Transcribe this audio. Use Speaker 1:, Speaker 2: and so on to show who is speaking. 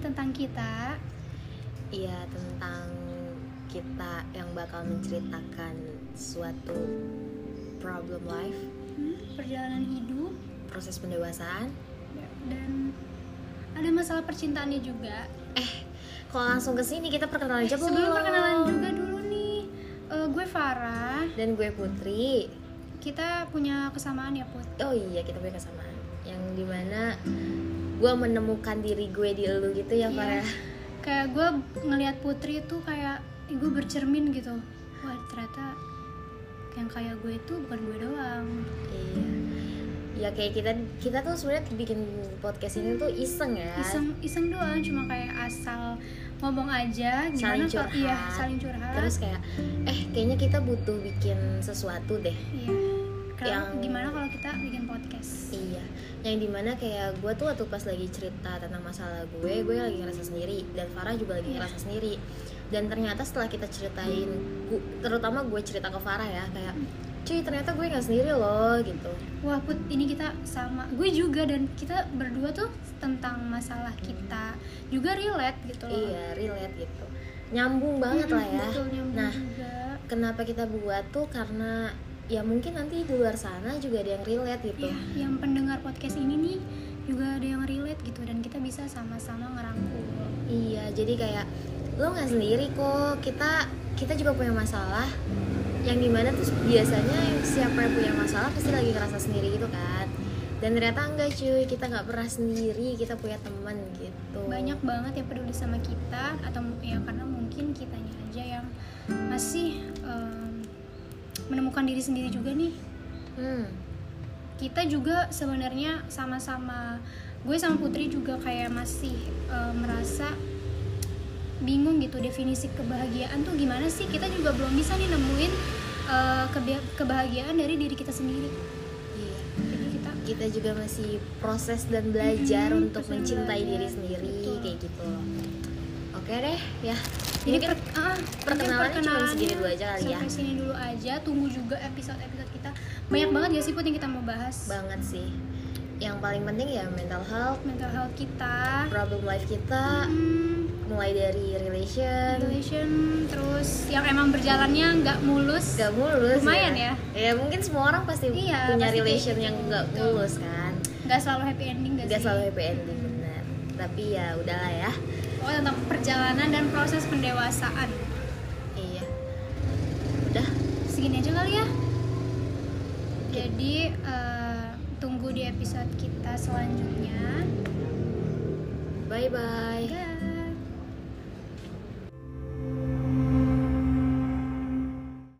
Speaker 1: kita
Speaker 2: Iya tentang kita yang bakal menceritakan suatu problem life,
Speaker 1: hmm, perjalanan hidup
Speaker 2: proses pendewasaan.
Speaker 1: dan ada masalah percintaannya juga.
Speaker 2: Kalau langsung ke sini kita perkenalan aja belum?
Speaker 1: Sebelum perkenalan juga dulu nih, eh, gue Farah.
Speaker 2: Dan gue Putri.
Speaker 1: Kita punya kesamaan ya Put.
Speaker 2: Oh iya kita punya kesamaan. Yang dimana gue menemukan diri gue di elu gitu ya
Speaker 1: Iya.
Speaker 2: Farah.
Speaker 1: Kayak gue ngelihat Putri itu kayak ih, gue bercermin gitu. Wah ternyata yang kayak gue itu bukan gue doang.
Speaker 2: Iya. Ya kayak kita kita tuh sebenarnya bikin podcast ini tuh iseng ya.
Speaker 1: Iseng iseng doang, cuma kayak asal ngomong aja. Gimana
Speaker 2: Saling
Speaker 1: kalau-
Speaker 2: curhat.
Speaker 1: Iya saling curhat.
Speaker 2: Terus kayak eh kayaknya kita butuh bikin sesuatu deh.
Speaker 1: Iya. Kalau-
Speaker 2: yang-
Speaker 1: Gimana kalau kita bikin podcast?
Speaker 2: Iya, yang dimana kayak gue tuh waktu pas lagi cerita tentang masalah gue, gue lagi ngerasa sendiri dan Farah juga lagi
Speaker 1: Iya.
Speaker 2: ngerasa sendiri. Dan ternyata setelah kita ceritain, gu- terutama gue cerita ke Farah ya kayak, cuy ternyata gue nggak sendiri loh gitu.
Speaker 1: Wah Put, ini kita sama. Gue juga dan kita berdua tuh tentang masalah kita juga relate gitu loh.
Speaker 2: Iya, relate gitu, nyambung banget
Speaker 1: Mm-mm,
Speaker 2: lah ya.
Speaker 1: Betul, nyambung
Speaker 2: Nah,
Speaker 1: juga.
Speaker 2: Kenapa kita buat tuh karena ya mungkin nanti di luar sana juga ada yang relate gitu.
Speaker 1: Ya, yang pendengar podcast ini nih juga ada yang relate gitu dan kita bisa sama-sama ngerangkul.
Speaker 2: Iya, jadi kayak lo nggak sendiri kok. Kita kita juga punya masalah. Yang dimana tuh biasanya yang siapa yang punya masalah pasti lagi ngerasa sendiri gitu kan. Dan ternyata enggak cuy, kita nggak pernah sendiri, kita punya teman gitu.
Speaker 1: Banyak banget yang peduli sama kita atau mu- ya karena mungkin kitanya aja yang masih em, menemukan diri sendiri juga nih.
Speaker 2: Hmm.
Speaker 1: kita juga sebenarnya sama-sama gue sama Putri juga kayak masih eh, merasa bingung gitu definisi kebahagiaan tuh gimana sih kita juga belum bisa nih nemuin eh, kebia- kebahagiaan dari diri kita sendiri
Speaker 2: Iya.
Speaker 1: jadi kita
Speaker 2: Kita juga masih proses dan belajar
Speaker 1: Mhm,
Speaker 2: untuk
Speaker 1: proses
Speaker 2: mencintai
Speaker 1: belajar.
Speaker 2: diri sendiri
Speaker 1: Betul.
Speaker 2: kayak gitu loh. Oke deh, ya.
Speaker 1: jadi
Speaker 2: Mungkin-
Speaker 1: per, ah, mungkin
Speaker 2: perkenalannya cuma segini dulu aja kali ya.
Speaker 1: sampai sini dulu aja tunggu juga episode-episode kita banyak banget gak sih Put yang kita mau bahas
Speaker 2: banget sih. Yang paling penting ya mental health,
Speaker 1: mental health kita
Speaker 2: problem life kita,
Speaker 1: hmm,
Speaker 2: mulai dari relation,
Speaker 1: relation terus yang emang berjalannya nggak mulus
Speaker 2: gak mulus
Speaker 1: Lumayan
Speaker 2: ya mungkin semua orang pasti
Speaker 1: Iya,
Speaker 2: punya
Speaker 1: pasti
Speaker 2: relation
Speaker 1: kayak
Speaker 2: yang
Speaker 1: gitu.
Speaker 2: gak
Speaker 1: Betul.
Speaker 2: mulus kan
Speaker 1: nggak selalu happy ending gak,
Speaker 2: gak
Speaker 1: sih?
Speaker 2: selalu happy ending benar tapi ya udahlah ya
Speaker 1: Pokoknya tentang perjalanan dan proses pendewasaan
Speaker 2: iya udah
Speaker 1: segini aja kali ya jadi eh, tunggu di episode kita selanjutnya
Speaker 2: bye bye
Speaker 1: guys